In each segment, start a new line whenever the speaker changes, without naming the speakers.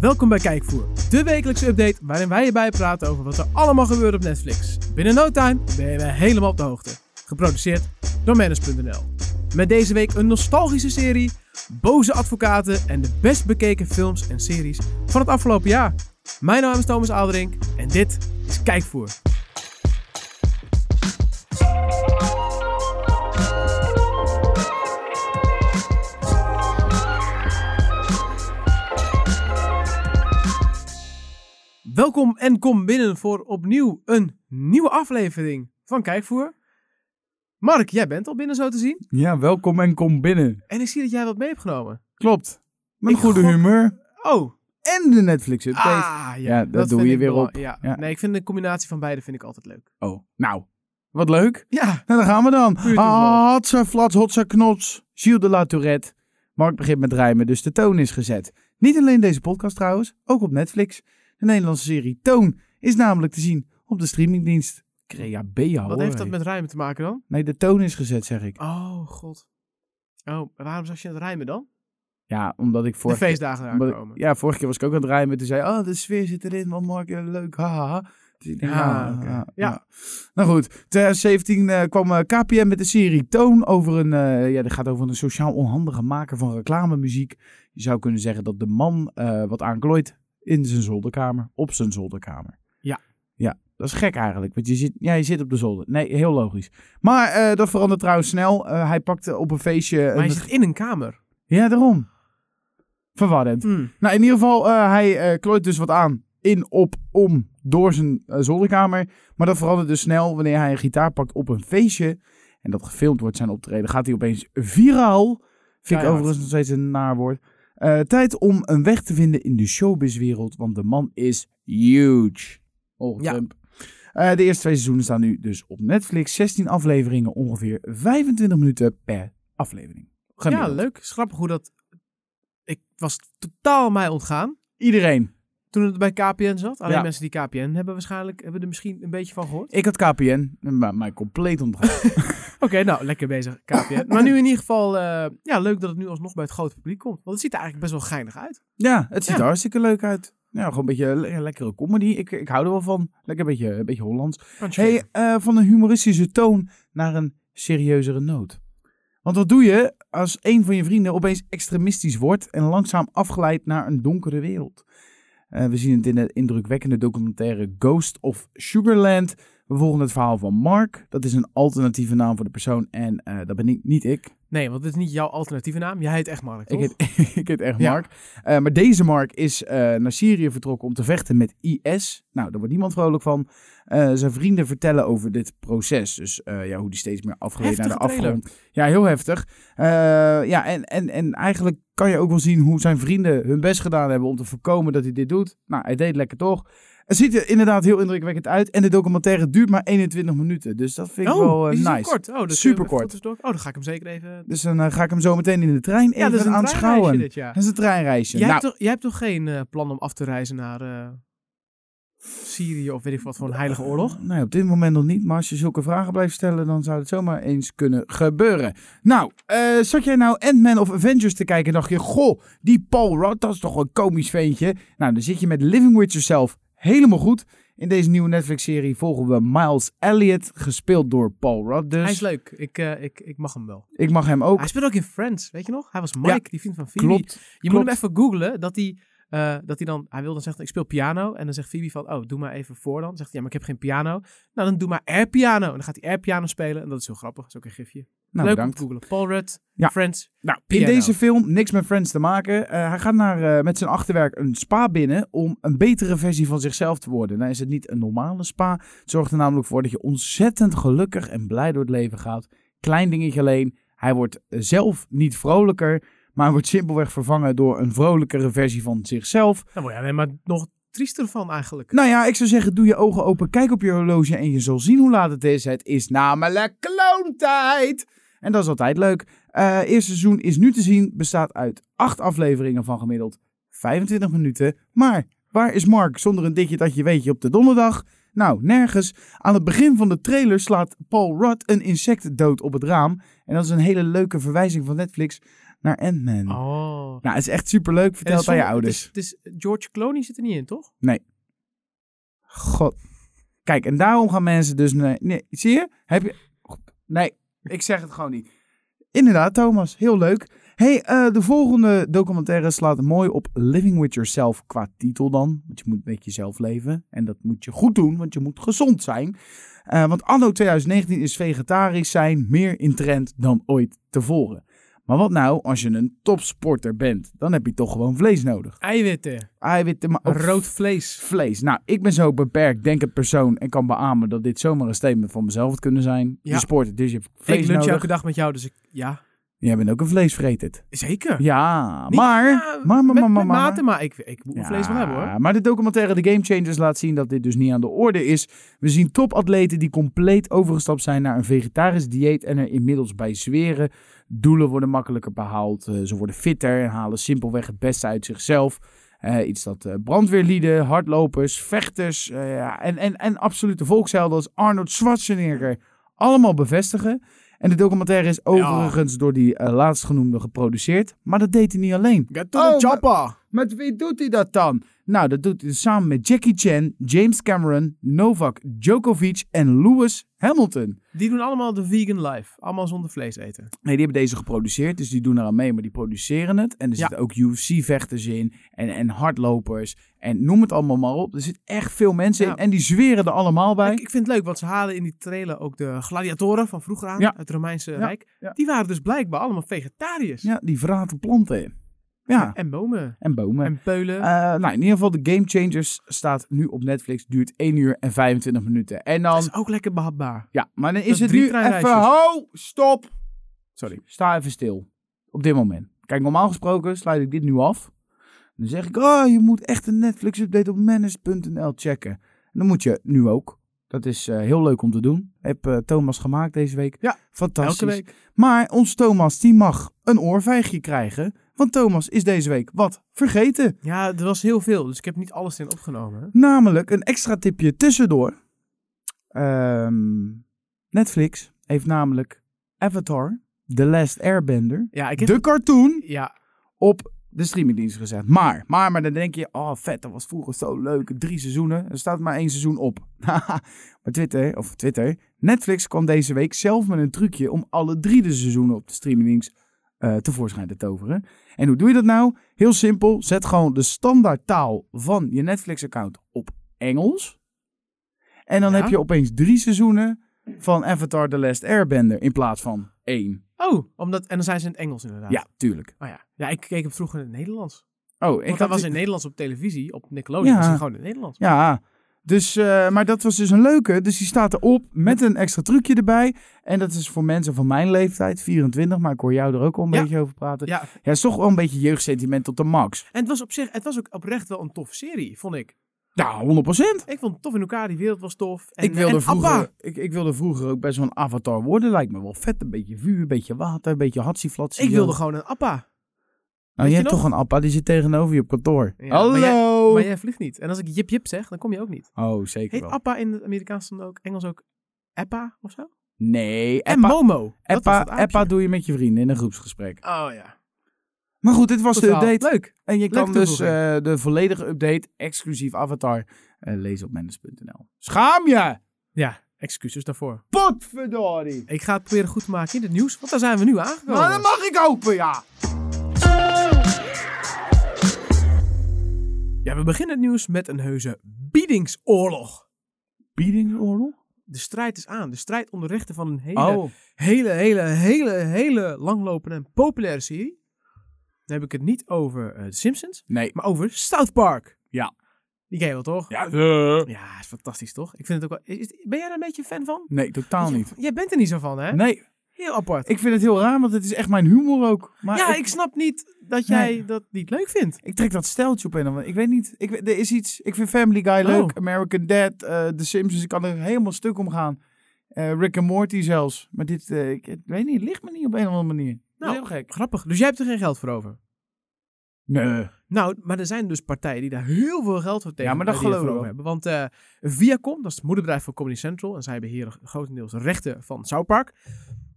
Welkom bij Kijkvoer, de wekelijkse update waarin wij je bijpraten over wat er allemaal gebeurt op Netflix. Binnen no time ben je weer helemaal op de hoogte. Geproduceerd door Manus.nl. Met deze week een nostalgische serie, boze advocaten en de best bekeken films en series van het afgelopen jaar. Mijn naam is Thomas Alderink en dit is Kijkvoer. Welkom en kom binnen voor opnieuw een nieuwe aflevering van Kijkvoer. Mark, jij bent al binnen zo te zien.
Ja, welkom en kom binnen.
En ik zie dat jij wat mee hebt genomen.
Klopt. Mijn
Ik
goede
gok-
humeur
Oh,
en de Netflix update.
ah, ja,
Ja, dat doe
vind
je
ik
weer
wel-
op.
Ja.
Ja.
Nee, ik vind de combinatie van beide vind ik altijd leuk.
Oh, nou, wat leuk.
Ja,
Nou, daar gaan we dan.
toeval.
Ah, Hatsa Flats, Hotsa Knots, Gilles de la Tourette. Mark begint met rijmen, dus de toon is gezet. Niet alleen deze podcast trouwens, ook op Netflix. De Nederlandse serie Toon is namelijk te zien op de streamingdienst. Crea Bea,
wat
hoor,
heeft dat
hé.
met rijmen te maken dan?
Nee, de toon is gezet, zeg ik.
Oh, god. Oh, en waarom zag je het rijmen dan?
Ja, omdat ik
De
voor...
feestdagen eraan
Omdat ik-
komen.
ja, vorige keer was ik ook aan het rijmen. Toen zei je, oh, de sfeer zit erin. Wat mooi, eh, leuk, haha. Dus ik denk,
Ah,
ah,
oké.
ah, ah.
Ja.
Nou goed, 2017 eh, kwam eh, KPN met de serie Toon over een... eh, ja, dat gaat over een sociaal onhandige maker van reclamemuziek. Je zou kunnen zeggen dat de man eh, wat aanklooit in zijn zolderkamer. Op zijn zolderkamer.
Ja.
Ja, dat is gek eigenlijk. Want je zit, ja, je zit op de zolder. Nee, heel logisch. Maar eh, dat verandert trouwens snel. Eh, hij pakte op een feestje...
Maar
een-
je zit in een kamer.
Ja, daarom. Verwarrend.
Hmm,
Nou, in ieder geval, eh, hij eh, klooit dus wat aan. In, op, om, door zijn eh, zolderkamer. Maar dat verandert dus snel wanneer hij een gitaar pakt op een feestje. En dat gefilmd wordt zijn optreden. Gaat hij opeens viraal. Vind
Keihard.
ik overigens nog steeds een naar woord. Eh, tijd om een weg te vinden in de showbizwereld. Want de man is huge. Oh,
Ja.
Trump. Eh, de eerste twee seizoenen staan nu dus op Netflix. 16 afleveringen, ongeveer 25 minuten per aflevering.
Ja,
Gemiddeld.
leuk. Het is grappig hoe dat... Ik was totaal mij ontgaan
Iedereen.
toen het bij KPN zat. Alleen
Ja.
mensen die KPN hebben waarschijnlijk... hebben er misschien een beetje van gehoord.
Ik had KPN, maar mij compleet ontgaan.
Oké, nou, lekker bezig, KPN. maar nu in ieder geval... eh, ja, leuk dat het nu alsnog bij het grote publiek komt. Want het ziet er eigenlijk best wel geinig uit.
ja, het ziet
Ja.
er hartstikke leuk uit. Ja, gewoon een beetje le- lekkere comedy. Ik, ik hou er wel van. Lekker een beetje, een beetje Hollands. Hey, eh, van een humoristische toon naar een serieuzere noot. Want wat doe je als een van je vrienden opeens extremistisch wordt en langzaam afglijdt naar een donkere wereld? Eh, we zien het in de indrukwekkende documentaire Ghost of Sugarland. We volgen het verhaal van Mark. Dat is een alternatieve naam voor de persoon en eh, dat ben ik, niet ik.
Nee, want dit is niet jouw alternatieve naam. Jij heet echt Mark,
Ik
toch?
heet, ik heet echt
Ja.
Mark. Eh, maar deze Mark is eh, naar Syrië vertrokken om te vechten met IS. Nou, daar wordt niemand vrolijk van. Eh, zijn vrienden vertellen over dit proces. Dus eh, ja, hoe die steeds meer afgeleid naar de
Heftige trailer.
afgrond. Ja, heel heftig. Eh, ja, en, en, en eigenlijk kan je ook wel zien hoe zijn vrienden hun best gedaan hebben om te voorkomen dat hij dit doet. Nou, hij deed lekker toch. Het ziet er inderdaad heel indrukwekkend uit. En de documentaire duurt maar 21 minuten. Dus dat vind ik wel eh,
Oh, is die zo
nice.
kort? Oh, dus
Superkort.
Oh, dan ga ik hem zeker even...
Dus dan eh, ga ik hem zo meteen in de trein even aanschouwen.
treinreisje dit, ja.
Dat is een treinreisje.
Jij,
Nou,
hebt toch, jij hebt toch geen eh, plan om af te reizen naar eh, Syrië of weet ik wat voor
Nou,
een heilige oorlog?
Nee, op dit moment nog niet. Maar als je zulke vragen blijft stellen, dan zou het zomaar eens kunnen gebeuren. Nou, eh, zat jij nou Ant-Man of Avengers te kijken en dacht je... Goh, die Paul Rudd, dat is toch een komisch ventje. Nou, dan zit je met Living With Yourself helemaal goed. In deze nieuwe Netflix-serie volgen we Miles Elliott, gespeeld door Paul Rudd dus.
Hij is leuk. Ik, eh, ik, ik mag hem wel.
Ik mag hem ook.
Hij speelde ook in Friends, weet je nog? Hij was Mike,
Ja,
die vriend van Phoebe.
Klopt.
je
klopt.
moet hem even googlen dat hij, eh, dat hij dan... Hij wil dan zeggen, ik speel piano. En dan zegt Phoebe van, oh, doe maar even voor dan. Zegt hij, ja, maar ik heb geen piano. Nou, dan doe maar air piano. En dan gaat hij air piano spelen. En dat is heel grappig. Dat is ook een gifje.
Nou,
leuk om
bedankt.
te googlen. Paul Rudd,
Ja.
Friends.
Nou,
Piano.
in deze film niks met Friends te maken. Eh, hij gaat naar, eh, met zijn achterwerk een spa binnen om een betere versie van zichzelf te worden. Nou is het niet een normale spa. Het zorgt er namelijk voor dat je ontzettend gelukkig en blij door het leven gaat. Klein dingetje alleen. Hij wordt eh, zelf niet vrolijker, maar hij wordt simpelweg vervangen door een vrolijkere versie van zichzelf.
Nou, word je alleen maar nog triester van eigenlijk.
Nou ja, ik zou zeggen, doe je ogen open, kijk op je horloge en je zal zien hoe laat het is. Het is namelijk kloontijd! En dat is altijd leuk. Eh eerste seizoen is nu te zien, bestaat uit acht afleveringen van gemiddeld 25 minuten. Maar waar is Mark zonder een ditje dat je weet je op de donderdag? Nou, nergens. Aan het begin van de trailer slaat Paul Rudd een insect dood op het raam. En dat is een hele leuke verwijzing van Netflix naar Ant-Man.
Oh.
Nou, het is echt superleuk.
En
Vertel het aan je
sommige-
ouders.
Het is, het is- George Clooney zit er niet in, toch?
God. Kijk, en daarom gaan mensen dus... Nee, nee zie je? Heb je... Nee, ik zeg het gewoon niet. Inderdaad, Thomas. Heel leuk. hey, eh, de volgende documentaire slaat mooi op Living With Yourself qua titel dan. Want je moet met jezelf leven. En dat moet je goed doen, want je moet gezond zijn. Eh, want anno 2019 is vegetarisch zijn meer in trend dan ooit tevoren. Maar wat nou als je een topsporter bent? Dan heb je toch gewoon vlees nodig.
Eiwitten.
Eiwitten, maar ook
Rood vlees.
vlees. Nou, ik ben zo beperkt denkend persoon en kan beamen dat dit zomaar een statement van mezelf had kunnen zijn.
Ja.
Je sport, dus je hebt vlees
ik lunch
nodig.
elke dag met jou, dus ik... Ja,
Jij bent ook een vleesvreter.
zeker.
Ja,
Niet-
maar,
ja,
maar,
met,
maar, maar, maar,
met
maar.
mate, maar ik, ik moet
Ja,
mijn vlees wel hebben, hoor.
Maar de documentaire The Game Changers laat zien dat dit dus niet aan de orde is. We zien topatleten die compleet overgestapt zijn naar een vegetarisch dieet en er inmiddels bij zweren. Doelen worden makkelijker behaald, eh, ze worden fitter en halen simpelweg het beste uit zichzelf. Eh, iets dat eh, brandweerlieden, hardlopers, vechters eh, ja, en, en, en absolute volkshelden als Arnold Schwarzenegger allemaal bevestigen. En de documentaire is overigens door die eh, laatstgenoemde geproduceerd. Maar dat deed hij niet alleen.
Get
to the Maar wie doet hij dat dan? Nou, dat doet hij samen met Jackie Chan, James Cameron, Novak Djokovic en Lewis Hamilton.
Die doen allemaal de vegan life. Allemaal zonder vlees eten.
Nee, die hebben deze geproduceerd, dus die doen eraan mee, maar die produceren het. En er
Ja.
zitten ook UFC-vechters in en, en hardlopers en noem het allemaal maar op. Er zitten echt veel mensen
Ja.
in en die zweren er allemaal bij.
Ik, ik vind het leuk, want ze halen in die trailer ook de gladiatoren van vroeger aan.
Ja.
Uit het Romeinse Rijk.
ja.
Die waren dus blijkbaar allemaal vegetariërs.
Ja, die vraten planten in. Ja,
En bomen.
en bomen.
En peulen.
Eh, nou, in ieder geval, de Game Changers staat nu op Netflix, duurt 1 uur en 25 minuten. En dan
dat is ook lekker behapbaar.
Ja, maar dan is
Dus
het
drie
nu
treinreisjes.
even... Ho, stop! Sorry. Sta even stil. Op dit moment. Kijk, normaal gesproken sluit ik dit nu af. Dan zeg ik, oh, je moet echt een Netflix-update op manage.nl checken. En dan moet je nu ook. Dat is eh, heel leuk om te doen. Heb eh, Thomas gemaakt deze week.
Ja,
fantastisch.
Elke week.
Maar ons Thomas, die mag een oorvijgje krijgen. Want Thomas is deze week wat vergeten.
Ja, er was heel veel, dus ik heb niet alles in opgenomen. hè.
Namelijk een extra tipje tussendoor. Ehm, Netflix heeft namelijk Avatar, The Last Airbender,
Ja, ik heb...
de cartoon,
Ja,
op de streamingdienst gezet. Maar, maar, maar dan denk je, oh vet, dat was vroeger zo leuk, drie seizoenen. Er staat maar één seizoen op. maar Twitter, of Twitter, Netflix kwam deze week zelf met een trucje om alle drie de seizoenen op de streamingdienst eh, tevoorschijn te toveren. En hoe doe je dat nou? Heel simpel, zet gewoon de standaardtaal van je Netflix-account op Engels. En dan
Ja.
heb je opeens drie seizoenen van Avatar The Last Airbender in plaats van één.
Oh, omdat, en dan zijn ze in het Engels inderdaad.
Ja, tuurlijk.
Oh ja. ja, ik keek hem vroeger in het Nederlands.
Oh,
Want
ik
dat
had
was in het Nederlands op televisie, op Nickelodeon,
Ja.
was hij gewoon in het Nederlands.
Ja, dus, eh, maar dat was dus een leuke. Dus die staat erop met een extra trucje erbij. En dat is voor mensen van mijn leeftijd, 24, maar ik hoor jou er ook al een
Ja.
beetje over praten. Ja,
Ja,
het is toch wel een beetje jeugdsentiment tot de max.
en het was op zich, het was ook oprecht wel een toffe serie, vond ik.
Nou, 100
Ik vond het tof in elkaar, die wereld was tof. En,
Ik wilde,
en Abba.
vroeger, ik, ik wilde vroeger ook best wel een avatar worden. Lijkt me wel vet. Een beetje vuur, een beetje water, een beetje hatsieflatsie.
Ik wilde gewoon een Appa.
Nou, je
weet je
hebt toch een appa, die zit tegenover je op kantoor.
Ja,
Hallo!
maar jij- Maar jij vliegt niet. En als ik jip jip zeg, dan kom je ook niet.
Oh, zeker
Heet
Oh. wel.
Appa in het Amerikaans dan ook, Engels ook Appa of zo?
Nee,
En
appa,
Momo. Dat was
appa,
dat aapje.
appa doe je met je vrienden in een groepsgesprek.
Oh ja.
Maar goed, dit was
Goed
de
verhaal.
update.
Leuk.
En je kan dus
toevoeging.
eh, de volledige update, exclusief Avatar, eh, lezen op mendes.nl. Schaam je!
Ja, excuses daarvoor.
Potverdorie!
Ik ga het proberen goed te maken in het nieuws, want daar zijn we nu aangekomen.
Nou, dat mag ik hopen, ja!
Ja, we beginnen het nieuws met een heuse biedingsoorlog.
Biedingsoorlog?
De strijd is aan. De strijd om de rechten van een hele,
Oh,
hele, hele, hele, hele langlopende en populaire serie. Dan heb ik het niet over eh, The Simpsons,
nee.
maar over South Park.
Ja.
Die ken je wel, toch?
Ja,
Ja, is fantastisch, toch? Ik vind het ook wel... is- ben jij daar een beetje fan van?
Nee, totaal
Want je-
niet.
Jij bent er niet zo van, hè?
Nee,
Heel apart.
ik vind het heel raar, want het is echt mijn humor ook. Maar
ja, ik,
ik,
snap niet dat jij
Nee.
dat niet leuk vindt.
ik trek dat steltje op een of andere. Ik weet niet, ik, weet- er is iets. Ik vind Family Guy leuk,
Oh.
American Dad, eh, The Simpsons, ik kan er helemaal stuk om gaan. Eh, Rick and Morty zelfs. Maar dit, eh, ik, ik weet niet, het ligt me niet op een of andere manier. Dat
Nou.
is heel gek.
Grappig. Dus jij hebt er geen geld voor over.
Nee.
Nou, maar er zijn dus partijen die daar heel veel geld voor tegen
Ja, maar dat
eh, die
geloof
ervoor
ik
hebben. Want eh, Viacom, dat is het moederbedrijf van Comedy Central. En zij beheren grotendeels de rechten van South Park.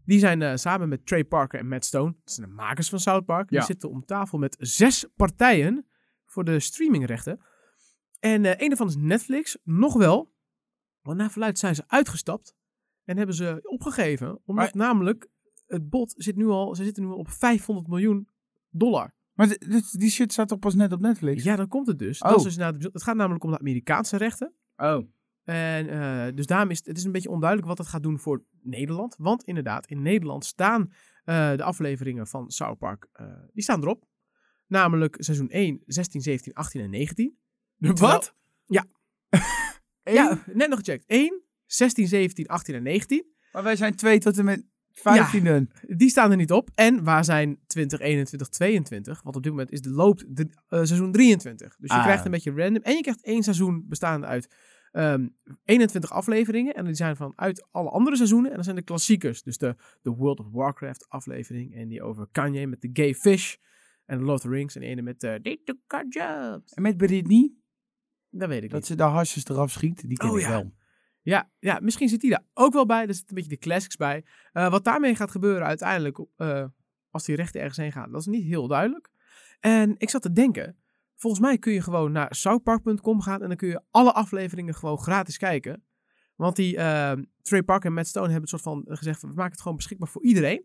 Die zijn eh, samen met Trey Parker en Matt Stone, dat zijn de makers van South Park,
Ja.
die zitten om tafel met zes partijen voor de streamingrechten. En eh, een daarvan is Netflix, nog wel. Want naar verluid zijn ze uitgestapt en hebben ze opgegeven. Omdat
Maar-
namelijk het bod zit nu al, ze zitten nu al op 500 miljoen dollar.
Maar d- dit- die shit staat toch pas net op Netflix?
Ja, dan komt het dus.
Oh.
Dat is dus inderdaad- het gaat namelijk om de Amerikaanse rechten.
Oh.
En eh, dus daarom is het, het is een beetje onduidelijk wat het gaat doen voor Nederland. Want inderdaad, in Nederland staan eh, de afleveringen van South Park, eh, die staan erop. Namelijk seizoen 1, 16, 17, 18 en 19. Terwijl-
Ja.
Ja, net nog gecheckt. 1, 16, 17, 18 en 19.
Maar wij zijn twee tot en met vijftienden.
Die staan er niet op. En waar zijn 20, 21, 22? Want op dit moment is de, loopt de, eh, seizoen 23. Dus je
Ah.
krijgt een beetje random. En je krijgt één seizoen bestaande uit ehm, 21 afleveringen. En die zijn vanuit alle andere seizoenen. En dat zijn de klassiekers. Dus de, de World of Warcraft aflevering. En die over Kanye met de gay fish. En Lord of the Rings. En die ene met eh They Took Our Jobs.
En met Britney,
Dat weet ik
dat
niet.
ze de hasjes eraf schiet, die ken
Oh
ik
ja.
wel.
Ja, ja, misschien zit die daar ook wel bij. Er zitten een beetje de classics bij. Eh, wat daarmee gaat gebeuren uiteindelijk, eh, als die rechten ergens heen gaan, dat is niet heel duidelijk. En ik zat te denken, volgens mij kun je gewoon naar southpark.com gaan en dan kun je alle afleveringen gewoon gratis kijken. Want die eh, Trey Parker en Matt Stone hebben een soort van gezegd, van, we maken het gewoon beschikbaar voor iedereen.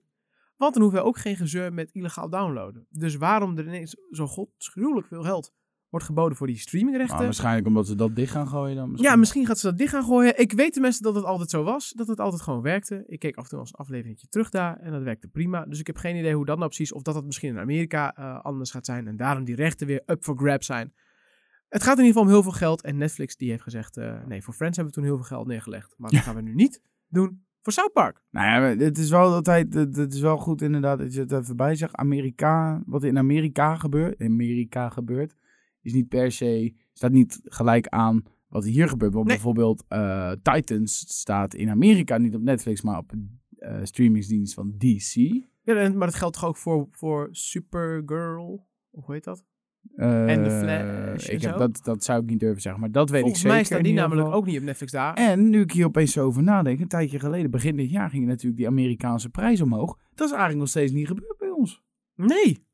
Want dan hoeven we ook geen gezeur met illegaal downloaden. Dus waarom er ineens zo godschuwelijk veel geld wordt geboden voor die streamingrechten?
Maar waarschijnlijk omdat ze dat dicht gaan gooien dan.
Ja, misschien gaat ze dat dicht gaan gooien. Ik weet tenminste dat het altijd zo was. Dat het altijd gewoon werkte. Ik keek af en toe als afleveringetje terug daar. En dat werkte prima. Dus ik heb geen idee hoe dat nou precies... of dat dat misschien in Amerika eh, anders gaat zijn. En daarom die rechten weer up for grab zijn. Het gaat in ieder geval om heel veel geld. En Netflix die heeft gezegd... eh, nee, voor Friends hebben we toen heel veel geld neergelegd. Maar dat gaan we nu niet doen voor South Park.
Nou ja, maar het is wel altijd, het, het is wel goed inderdaad dat je het even bij zegt. Amerika, wat in Amerika gebeurt, in Amerika gebeurt, is niet per se, staat niet gelijk aan wat hier gebeurt. Want
Nee.
bijvoorbeeld eh, Titans staat in Amerika niet op Netflix, maar op een eh, streamingsdienst van DC.
Ja, en- maar dat geldt toch ook voor, voor Supergirl? Of hoe heet dat?
Eh,
En The Flash en
Ik heb
zo.
dat, dat zou ik niet durven zeggen, maar dat weet
Volgens
ik zeker.
mij staat
in
die
ieder
namelijk
geval.
ook niet op Netflix daar.
En nu ik hier opeens zo over nadenk, een tijdje geleden, begin dit jaar, ging natuurlijk die Amerikaanse prijs omhoog. Dat is eigenlijk nog steeds niet gebeurd bij ons.
Nee.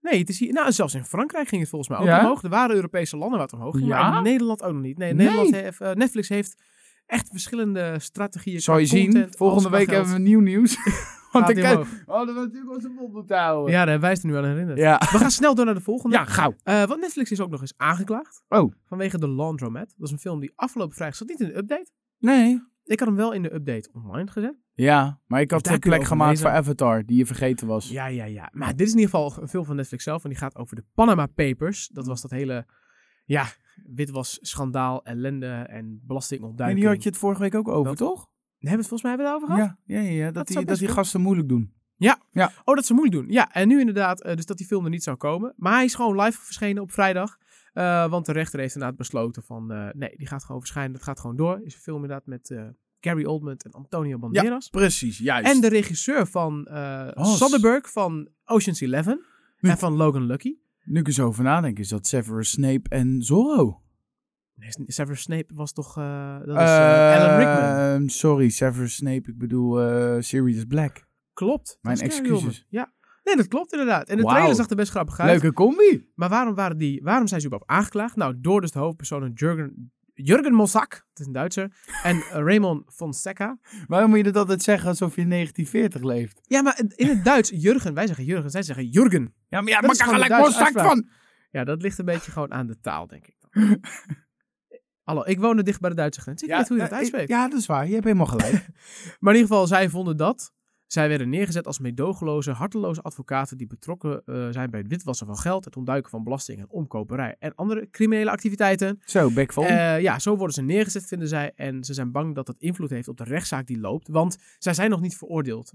Nee, het is hier, nou, zelfs in Frankrijk ging het volgens mij ook
Ja?
omhoog. Er waren Europese landen waar het omhoog ging, maar
Ja?
in Nederland ook nog niet. Nee,
Nee.
Nederland heeft, eh, Netflix heeft echt verschillende strategieën.
Zal je
qua
zien,
content,
volgende
alles
week
qua
hebben we nieuw nieuws. Want ik
geld. Gaat
kan...
die
Oh,
omhoog.
dat was natuurlijk onze mond moeten houden.
Ja, daar hebben wij het er nu aan herinnerd.
ja.
We gaan snel door naar de volgende.
Ja, gauw.
Eh, want Netflix is ook nog eens aangeklaagd
Oh.
vanwege The Laundromat. Dat is een film die afgelopen vrijdag zat niet in de update.
Nee.
Ik had hem wel in de update online gezet.
Ja, maar ik had
daar
een
kun je
plek
over
gemaakt
lezen.
voor Avatar, die je vergeten was.
Ja, ja, ja. Maar dit is in ieder geval een film van Netflix zelf. En die gaat over de Panama Papers. Dat
Hmm.
was dat hele, ja, witwas, schandaal, ellende en
en
belastingontduiking.
die had je het vorige week ook over,
Dat-
toch?
Hebben we het volgens mij hebben we het over gehad?
Ja, ja, ja, ja,
Dat
dat,
zou
die, dat
best
die
kunnen.
gasten moeilijk doen.
Oh, dat ze moeilijk doen. Ja, en nu inderdaad, eh, dus dat die film er niet zou komen. Maar hij is gewoon live verschenen op vrijdag. Eh, want de rechter heeft inderdaad besloten van, eh, nee, die gaat gewoon verschijnen. Dat gaat gewoon door. Is een film inderdaad met eh, Gary Oldman en Antonio Banderas.
Precies, juist.
En de regisseur van eh
Oh,
Soderbergh van Ocean's Eleven.
Nu-
En van Logan Lucky.
Nu ik er zo over nadenk, is dat Severus Snape en Zorro.
Nee, Severus Snape was toch, eh, dat is eh, Alan Rickman.
Ehm, sorry, Severus Snape, ik bedoel eh Sirius Black.
Klopt. dat
Mijn
is Gary
excuses.
Oldman. Ja. Nee, dat klopt inderdaad. En de
Wauw.
trailer zag er best grappig uit.
Leuke combi.
Maar waarom, waren die, waarom zijn ze überhaupt aangeklaagd? Nou, door dus de hoofdpersonen Jurgen, Jurgen Mosak, het is een Duitser, en eh, Raymond Fonseca.
Waarom moet je dat altijd zeggen alsof je in 1940 leeft?
Ja, maar het- in het Duits, Jurgen, wij zeggen Jurgen, zij zeggen Jurgen.
Ja, maar ja,
Dat
maar
is
ik
gewoon
kan
de
gelijk wel
Duitse
zak van.
Ja, dat ligt een beetje gewoon aan de taal, denk ik. dan. Hallo, ik woon er dicht bij de Duitse grens. Ik weet hoe je dat
eh,
uitspreekt.
Ja, dat is waar. Je hebt helemaal gelijk.
Maar in ieder geval, zij vonden dat. Zij werden neergezet als meedogenloze, harteloze advocaten die betrokken eh, zijn bij het witwassen van geld, het ontduiken van belasting en omkoperij en andere criminele activiteiten.
Zo, bek vol.
Eh, ja, zo worden ze neergezet, vinden zij. En ze zijn bang dat dat invloed heeft op de rechtszaak die loopt. Want zij zijn nog niet veroordeeld.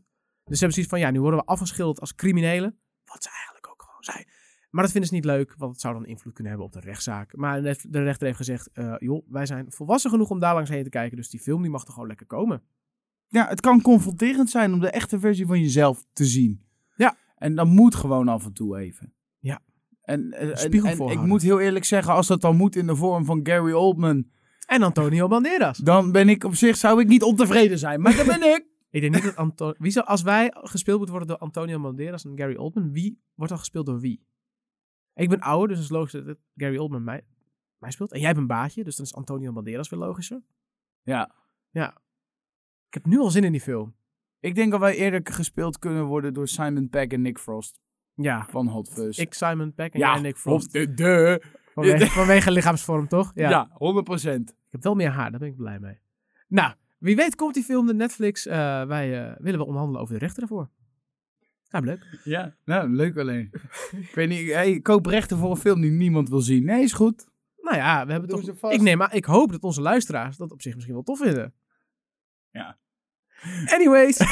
Dus ze hebben zoiets van, ja, nu worden we afgeschilderd als criminelen. Wat ze eigenlijk ook gewoon zijn. Maar dat vinden ze niet leuk, want het zou dan invloed kunnen hebben op de rechtszaak. Maar net- de rechter heeft gezegd, eh, joh, wij zijn volwassen genoeg om daar langs heen te kijken. Dus die film die mag er gewoon lekker komen.
ja, het kan confronterend zijn om de echte versie van jezelf te zien.
Ja.
En dat moet gewoon af en toe even.
Ja.
En, eh, en-
spiegel
en ik
voorhouden.
moet heel eerlijk zeggen, als dat dan moet in de vorm van Gary Oldman,
En Antonio Banderas.
dan ben ik op zich, zou ik niet ontevreden zijn. Maar dat ben ik.
Ik denk niet dat Anto- wie zou, als wij gespeeld moeten worden door Antonio Banderas en Gary Oldman, wie wordt dan gespeeld door wie? Ik ben ouder, dus het is logisch dat Gary Oldman mij, mij speelt. En jij bent een baasje, dus dan is Antonio Banderas weer logischer.
Ja.
Ik heb nu al zin in die film.
Ik denk dat wij eerder gespeeld kunnen worden door Simon Peck en Nick Frost
Ja.
van Hot Fuzz.
Ik, Simon Peck en
ja,
jij Nick Frost.
De, de.
Vanwege, vanwege lichaamsvorm, toch?
Ja.
ja.
100%.
Ik heb wel meer haar, daar ben ik blij mee. Nou, wie weet komt die film de Netflix. eh, wij eh, willen wel onderhandelen over de rechten ervoor. Nou, leuk.
Ja. Nou, leuk alleen. ik weet niet, hey, koop rechten voor een film die niemand wil zien. Nee, is goed.
Nou ja, we hebben
Doen ze
toch...
vast.
Ik neem aan, ik hoop dat onze luisteraars dat op zich misschien wel tof vinden.
Ja.
Anyways,
Dit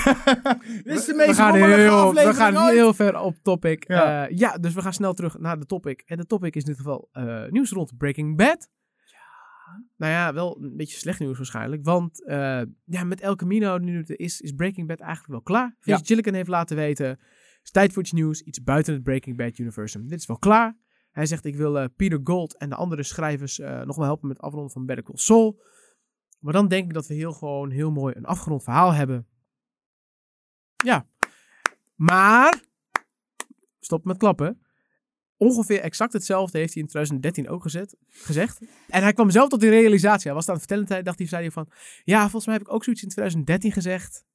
is de
we
meest
gaan,
rommelige
heel, we
aflevering
gaan
ooit.
heel ver op topic. Ja.
Ja.
ja, dus we gaan snel terug naar de topic. En de topic is in dit geval eh, nieuws rond Breaking Bad. Nou ja, wel een beetje slecht nieuws waarschijnlijk. Want eh, ja, met El Camino die nu er is, is Breaking Bad eigenlijk wel klaar. Vince Gilligan heeft laten weten, het is tijd voor iets nieuws. Iets buiten het Breaking Bad universum. Dit is wel klaar. Hij zegt, ik wil eh, Peter Gold en de andere schrijvers eh, nog wel helpen met het afronden van Better Call Saul. Maar dan denk ik dat we heel gewoon heel mooi een afgerond verhaal hebben. Maar, stop met klappen. Ongeveer exact hetzelfde heeft hij in 2013 ook gezet, gezegd. En hij kwam zelf tot die realisatie. Hij was het aan het vertellen, en hij dacht hij, zei hij van... Ja, volgens mij heb ik ook zoiets in 2013 gezegd.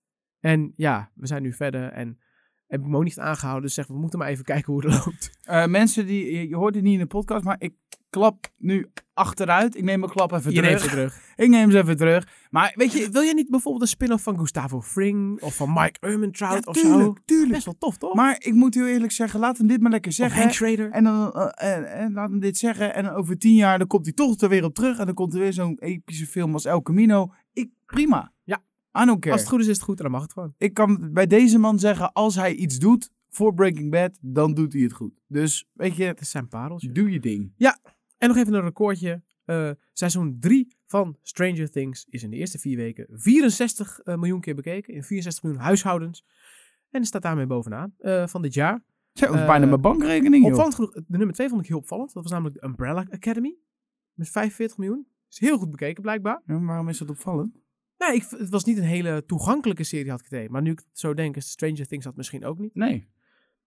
En ja, we zijn nu verder en heb ik me ook niet aangehouden. Dus zeg, we moeten maar even kijken hoe het loopt.
Eh, mensen die, je, je hoort het niet in de podcast, maar ik klap nu achteruit. Ik neem mijn klap even
Je neemt
terug.
ze terug.
Ik neem ze even terug. Maar weet
Weet je, wil jij niet bijvoorbeeld een spin-off van Gustavo Fring of van Mike Ermentrout
Ja,
of
tuurlijk,
zo?
tuurlijk.
Best wel tof, toch?
je, maar ik moet heel eerlijk zeggen, laat hem dit maar lekker
of
zeggen.
Hank Schrader.
En dan eh, en, en laat hem dit zeggen. En over tien jaar dan komt hij toch er weer op terug. En dan komt er weer zo'n epische film als El Camino. Ik, prima.
Ja.
I don't care.
Als het goed is, is het goed en dan mag het gewoon.
Ik kan bij deze man zeggen, als hij iets doet voor Breaking Bad, dan doet hij het goed. Dus weet je,
Het is zijn pareltje.
doe je ding.
En nog even een recordje. Eh, seizoen 3 van Stranger Things is in de eerste vier weken 64 eh, miljoen keer bekeken. In 64 miljoen huishoudens. En staat daarmee bovenaan eh, van dit jaar.
Zo, dat is
Eh,
bijna mijn bankrekening, joh.
Opvallend genoeg, de nummer 2 vond ik heel opvallend. Dat was namelijk de Umbrella Academy. Met 45 miljoen. Is heel goed bekeken blijkbaar.
Ja, waarom is dat opvallend?
Nee, ik, v- het was niet een hele toegankelijke serie had ik het idee. Maar nu ik het zo denk, is Stranger Things dat misschien ook niet.
Nee.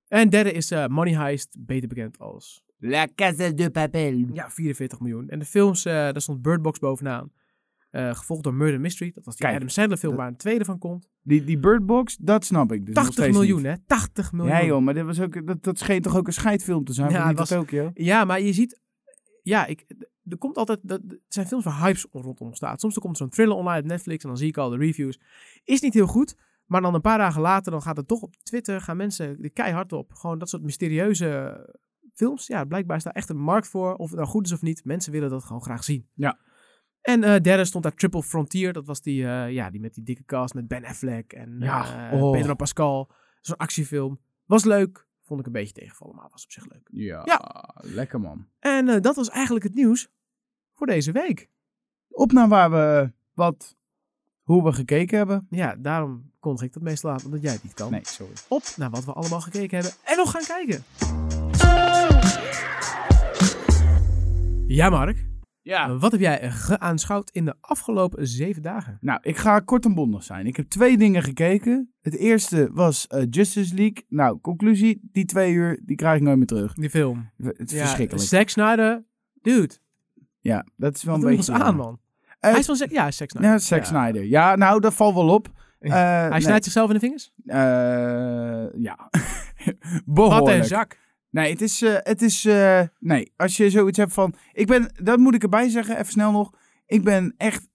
En derde is eh, Money Heist, beter bekend als
La Casa de Papel.
ja, 44 miljoen. En de films, eh, daar stond Bird Box bovenaan. Eh, gevolgd door Murder Mystery. Dat was die
Kijk,
Adam Sandler film
dat-
waar een tweede van komt.
Die, die Bird Box, dat snap ik. Dus nog
80
steeds
miljoen,
niet.
hè? 80 miljoen.
Ja joh, maar dit was ook, dat, dat scheen toch ook een scheidfilm te zijn?
Ja,
Ja, niet
het
dat ook joh?
Ja, maar je ziet... Ja, ik, d- er komt altijd... Dat, het zijn films waar hypes rondom staat. Soms er komt zo'n thriller online op Netflix en dan zie ik al de reviews. Is niet heel goed, maar dan een paar dagen later dan gaat het toch op Twitter, gaan mensen er keihard op. Gewoon dat soort mysterieuze films. Ja, blijkbaar is daar echt een markt voor. Of het nou goed is of niet, mensen willen dat gewoon graag zien.
Ja.
En eh, derde stond daar Triple Frontier. Dat was die, eh, ja, die met die dikke cast met Ben Affleck en
Ja,
eh,
oh.
Pedro Pascal. Zo'n actiefilm. Was leuk. Vond ik een beetje tegenvallen, maar was op zich leuk.
Ja, lekker man.
En eh, dat was eigenlijk het nieuws voor deze week.
Op naar waar we wat, hoe we gekeken hebben.
Ja, daarom kondig ik dat meestal aan, omdat jij het niet kan.
Nee, sorry.
Op naar wat we allemaal gekeken hebben en nog gaan kijken. Ja, Mark.
Ja.
Wat heb jij eh, geaanschouwd in de afgelopen zeven dagen?
Nou, ik ga kort en bondig zijn. Ik heb twee dingen gekeken. Het eerste was eh, Justice League. Nou, conclusie, die twee uur, die krijg ik nooit meer terug.
Die film.
Het is
Ja,
verschrikkelijk.
Zack Snyder. Dude,
Ja, dat is wel
wat
een
doe ons
beetje...
aan, man?
Eh,
hij is van Zack... Ja, hij is Zack Snyder.
Ja, Zack Snyder. Ja, nou, dat valt wel op. Eh,
Hij
nee,
snijdt zichzelf in de vingers?
eh, ja.
Wat een
Behoorlijk.
zak.
Nee, het is. eh, het is eh, nee, als je zoiets hebt van. Ik ben. Dat moet ik erbij zeggen, even snel nog. Ik ben echt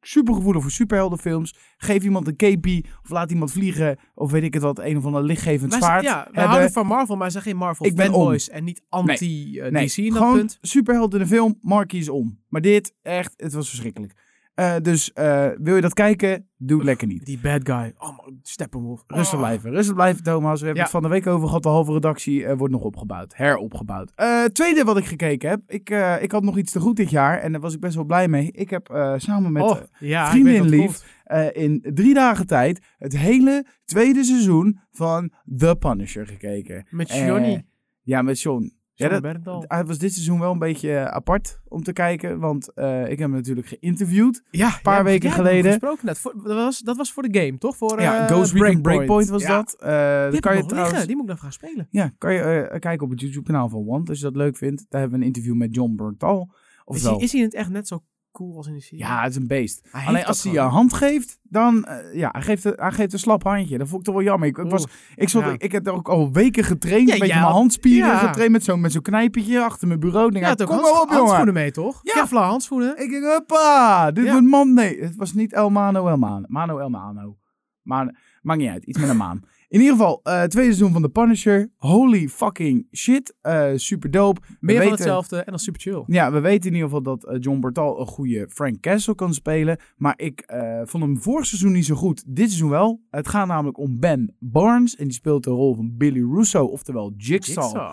super gevoelig voor superheldenfilms. Geef iemand een capie. Of laat iemand vliegen. Of weet ik het wat. Een of ander lichtgevend
Wij-
zwaard.
ja, we
hebben.
houden van Marvel, maar zijn geen Marvel
Ik ben om.
fanboys en niet anti-DC
nee,
in dat
gewoon
punt.
superheld in een film. Markie is om. Maar dit, echt, het was verschrikkelijk. Eh, dus eh, wil je dat kijken? Doe het lekker niet.
Die bad guy. Oh, man, Steppenwolf.
Rustig
Oh.
blijven, rustig blijven, Thomas. We hebben
Ja.
het van de week over gehad. De halve redactie eh, wordt nog opgebouwd, heropgebouwd. Eh, tweede wat ik gekeken heb. Ik, eh, ik had nog iets te goed dit jaar en daar was ik best wel blij mee. Ik heb eh, samen met
oh, ja, ik
vriendin
weet wat
lief.
komt.
eh, eh, in drie dagen tijd het hele tweede seizoen van The Punisher gekeken.
Met
Eh,
Johnny. Oh.
ja, met John.
Ja,
dat-
Bergdahl.
Hij was dit seizoen wel een beetje eh, apart om te kijken, want eh, ik heb hem natuurlijk geïnterviewd.
Ja, een
paar weken geleden.
Gesproken net. Voor- dat, was, dat was voor de game, toch? Voor,
ja,
eh,
Ghost Recon Breakpoint was
Ja,
dat. Eh,
Die heb ik
dat kan je
nog liggen.
trouwens
Die moet ik nog gaan spelen.
Ja, kan je eh, kijken op het YouTube-kanaal van Want. Als je dat leuk vindt. Daar hebben we een interview met John Berntal.
Is hij,
Ofwel,
is hij in het echt net zo cool als in de serie?
ja, het is een beest.
Hij heeft
Alleen
dat
als hij je
gewoon.
een hand geeft, dan... eh, ja, hij geeft, een, hij geeft een slap handje. Dat vond ik toch wel jammer. Ik, ik, was,
Oeh,
ik, zat,
ja.
ik, heb daar ook al weken getraind.
Ja,
een beetje
jij
mijn
had-
handspieren
ja.
getraind. Met zo'n met zo'n knijpertje achter mijn bureau. Ik Denk,
Ja,
ja,
toch
kom maar op, jongen.
handschoenen mee, toch?
Ja.
Kevlar handschoenen.
Ik denk, hoppa. Dit
Ja.
wordt man. Nee, het was niet El Mano El Mano. Mano El Mano. Maar maakt niet uit. Iets met een maan. In ieder geval, eh tweede seizoen van The Punisher. Holy fucking shit. Eh super dope. We
Meer van
weten-
hetzelfde en dan super chill.
Ja, we weten in ieder geval dat eh, John Bartal een goede Frank Castle kan spelen. Maar ik eh, vond hem vorig seizoen niet zo goed. Dit seizoen wel. Het gaat namelijk om Ben Barnes. En die speelt de rol van Billy Russo, oftewel Jigsaw.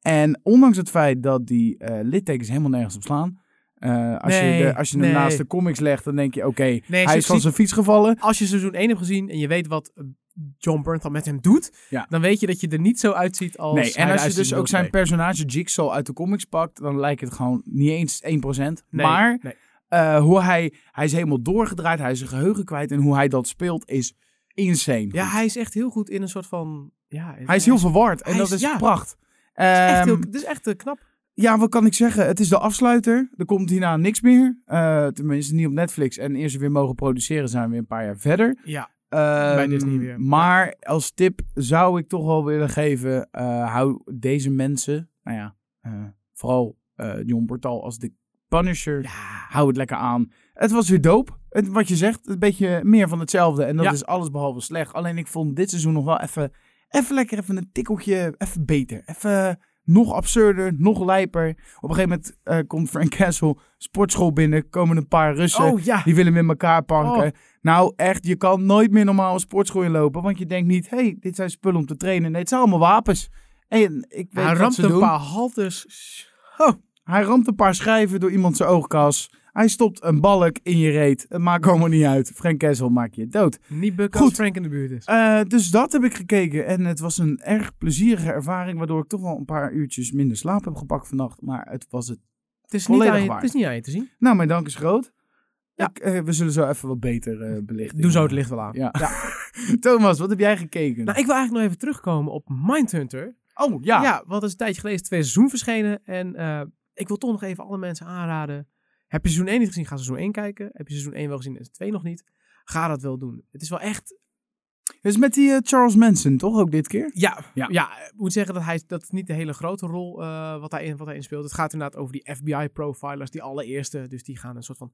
En ondanks het feit dat die eh, littekens helemaal nergens op slaan. eh, als,
Nee,
je de, als je
nee.
hem naast de comics legt, dan denk je: oké, hij
ze-
is van
ze-
zijn fiets gevallen.
Als je seizoen 1 hebt gezien en je weet wat eh, John Bernthal met hem doet,
Ja.
dan weet je dat je er niet zo uitziet als
Nee,
hij
en als je
eruit ziet
dus
in
ook
deel
zijn personage Jigsaw uit de comics pakt, dan lijkt het gewoon niet eens 1%.
twee. Nee,
maar
nee.
Eh, hoe hij, hij is helemaal doorgedraaid, hij is zijn geheugen kwijt en hoe hij dat speelt is insane.
Ja, hij is echt heel goed in een soort van... Ja,
hij is heel verward en
hij
dat
is-
is,
ja.
pracht.
echt heel-
Ehm,
Dit is echt eh, knap.
ja, wat kan ik zeggen? Het is de afsluiter. Er komt hierna niks meer. Eh, tenminste, niet op Netflix. En eerst we weer mogen produceren, zijn we weer een paar jaar verder.
Ja,
Ehm,
Bij Disney weer.
Maar als tip zou ik toch wel willen geven: eh, hou deze mensen, nou ja, eh, vooral eh John Portal als de Punisher, hou het lekker aan. Het was weer doop. Het, wat je zegt, een beetje meer van hetzelfde. En dat
Ja.
is alles behalve slecht. Alleen ik vond dit seizoen nog wel even, even lekker even een tikkeltje, even beter. Even nog absurder, nog lijper. Op een gegeven moment eh, komt Frank Castle sportschool binnen, komen een paar Russen.
Oh ja.
Die willen hem in elkaar panken.
Oh.
Nou, echt, je kan nooit meer normaal een sportschool inlopen. Want je denkt niet, hé, hey, dit zijn spullen om te trainen. Nee, het zijn allemaal wapens. En ik
Hij
weet wat
ramt
ze
een
doen.
paar halters.
Hij ramt een paar schijven door iemand zijn oogkas. Hij stopt een balk in je reet. Het maakt allemaal niet uit. Frank Kessel maakt je dood.
Niet bukken
Goed.
als Frank in de buurt is.
Eh, dus dat heb ik gekeken. En het was een erg plezierige ervaring. Waardoor ik toch wel een paar uurtjes minder slaap heb gepakt vannacht. Maar het was het.
Het is, niet
volledig
aan je,
waar.
het is niet aan je te zien.
Nou, mijn dank is groot.
Ja.
Ik, eh, we zullen zo even wat beter eh, belichten.
Doe zo het licht wel aan.
Ja. Thomas, wat heb jij gekeken?
Nou, ik wil eigenlijk nog even terugkomen op Mindhunter.
Oh, ja.
Ja, want het is een tijdje geleden, is twee seizoen verschenen. En eh, ik wil toch nog even alle mensen aanraden. Heb je seizoen 1 niet gezien, ga seizoen 1 kijken. Heb je seizoen 1 wel gezien en 2 nog niet, ga dat wel doen. Het is wel echt...
Dus met die eh, Charles Manson, toch ook dit keer?
Ja,
Ja.
ja. ik moet zeggen dat hij dat is niet de hele grote rol eh wat, daarin, wat daarin speelt. Het gaat inderdaad over die FBI-profilers, die allereerste. Dus die gaan een soort van...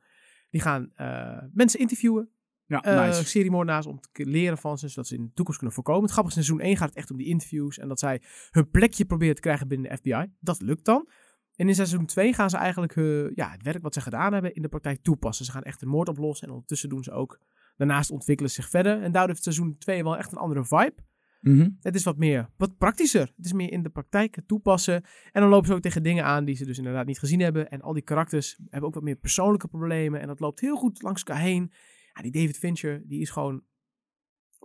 Die gaan eh, mensen interviewen,
Ja,
eh seriemoordenaars, om te k- leren van ze, zodat ze in de toekomst kunnen voorkomen. Het grappige is, in seizoen 1 gaat het echt om die interviews en dat zij hun plekje proberen te krijgen binnen de FBI. Dat lukt dan. En in seizoen 2 gaan ze eigenlijk eh, ja, het werk wat ze gedaan hebben in de praktijk toepassen. Ze gaan echt een moord oplossen en ondertussen doen ze ook, daarnaast ontwikkelen ze zich verder. En daardoor heeft seizoen 2 wel echt een andere vibe.
Mhm.
Het is wat meer, wat praktischer. Het is meer in de praktijk het toepassen. En dan lopen ze ook tegen dingen aan die ze dus inderdaad niet gezien hebben. En al die karakters hebben ook wat meer persoonlijke problemen. En dat loopt heel goed langs elkaar heen. Ja, die David Fincher, die is gewoon...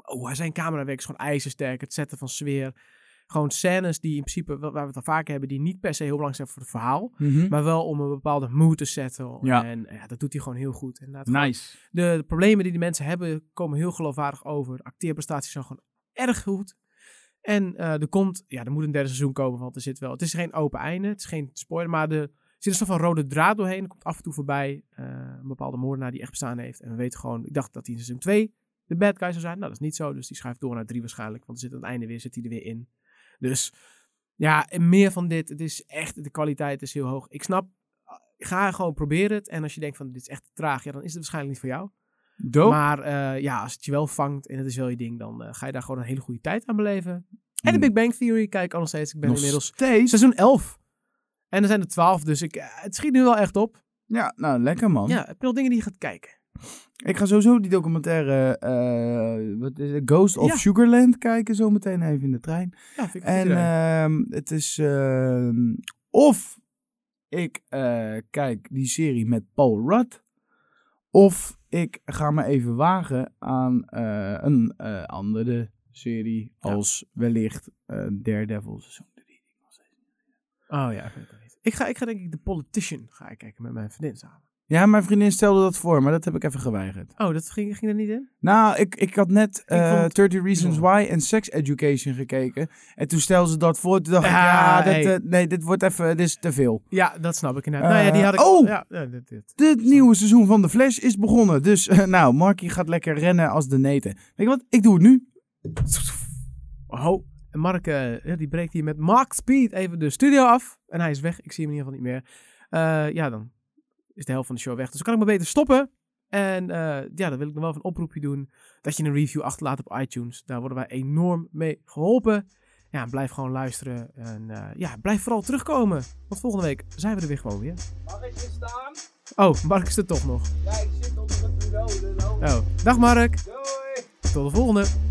Oh, hij- zijn camerawerk is gewoon ijzersterk. Het zetten van sfeer. Gewoon scènes die in principe, wa- waar we het al vaker hebben, die niet per se heel belangrijk zijn voor het verhaal.
Mhm.
Maar wel om een bepaalde mood te zetten.
Ja.
En ja, dat doet hij gewoon heel goed. En laat
Nice.
de, de problemen die die mensen hebben komen heel geloofwaardig over. De acteerprestaties zijn gewoon erg goed. En eh, er komt, ja, er moet een derde seizoen komen, want er zit wel. Het is geen open einde, het is geen spoiler, maar de, er zit een soort van rode draad doorheen. Er komt af en toe voorbij eh, een bepaalde moordenaar die echt bestaan heeft. En we weten gewoon, ik dacht dat hij in seizoen 2 de bad guy zou zijn. Nou, dat is niet zo, dus die schuift door naar 3 waarschijnlijk, want er zit aan het einde weer, zit hij er weer in. Dus ja, en meer van dit. Het is echt, de kwaliteit is heel hoog. Ik snap, ga gewoon proberen het. En als je denkt van, dit is echt te traag, ja, dan is het waarschijnlijk niet voor jou.
Dope.
Maar eh, ja, als het je wel vangt en het is wel je ding, dan eh, ga je daar gewoon een hele goede tijd aan beleven. En de
Hmm.
Big Bang Theory kijk ik al nog steeds. Ik ben
Nog
inmiddels
steeds.
seizoen 11. En er zijn er 12, dus ik, eh, het schiet nu wel echt op.
Ja, nou, lekker man.
Ja, heb je nog dingen die je gaat kijken?
Ik ga sowieso die documentaire eh, wat is het? Ghost of
Ja.
Sugarland kijken, zo meteen even in de trein.
Ja, vind ik een goed
En
idee.
ehm, het is. ehm, of ik eh, kijk die serie met Paul Rudd. Of ik ga me even wagen aan eh, een eh, andere serie.
Ja.
Als wellicht eh, Daredevil seizoen 3.
Oh ja, ik weet het niet. Ik ga, ik ga denk ik The Politician ga ik kijken met mijn vriendin samen.
Ja, mijn vriendin stelde dat voor, maar dat heb ik even geweigerd.
Oh, dat ging, ging er niet in?
Nou, ik, ik had net eh
vond-
30 Reasons
Ja.
Why en Sex Education gekeken. En toen stelde ze dat voor. Toen dacht ik,
Ja,
ja, dit,
hey.
eh, nee, dit wordt even, dit is te veel.
Ja, dat snap ik inderdaad.
Eh,
nou ja, die had ik...
oh!
Ja, ja, dit, dit.
Het nieuwe seizoen van The Flash is begonnen. Dus, eh, nou, Marky gaat lekker rennen als de neten. Weet je wat? Ik doe het nu.
Oh, en Mark, eh, ja, die breekt hier met Mark Speed even de studio af. En hij is weg. Ik zie hem in ieder geval niet meer. Eh, ja, dan is de helft van de show weg. Dus dan kan ik maar beter stoppen. En eh, ja, dan wil ik nog wel even een oproepje doen. Dat je een review achterlaat op iTunes. Daar worden wij enorm mee geholpen. Ja, en blijf gewoon luisteren. En eh, ja, blijf vooral terugkomen. Want volgende week zijn we er weer gewoon weer.
Mag ik hier staan?
Oh, Mark is er toch nog.
Ja, ik zit onder het bureau. dus-
Oh, dag Mark.
Doei!
Tot de volgende.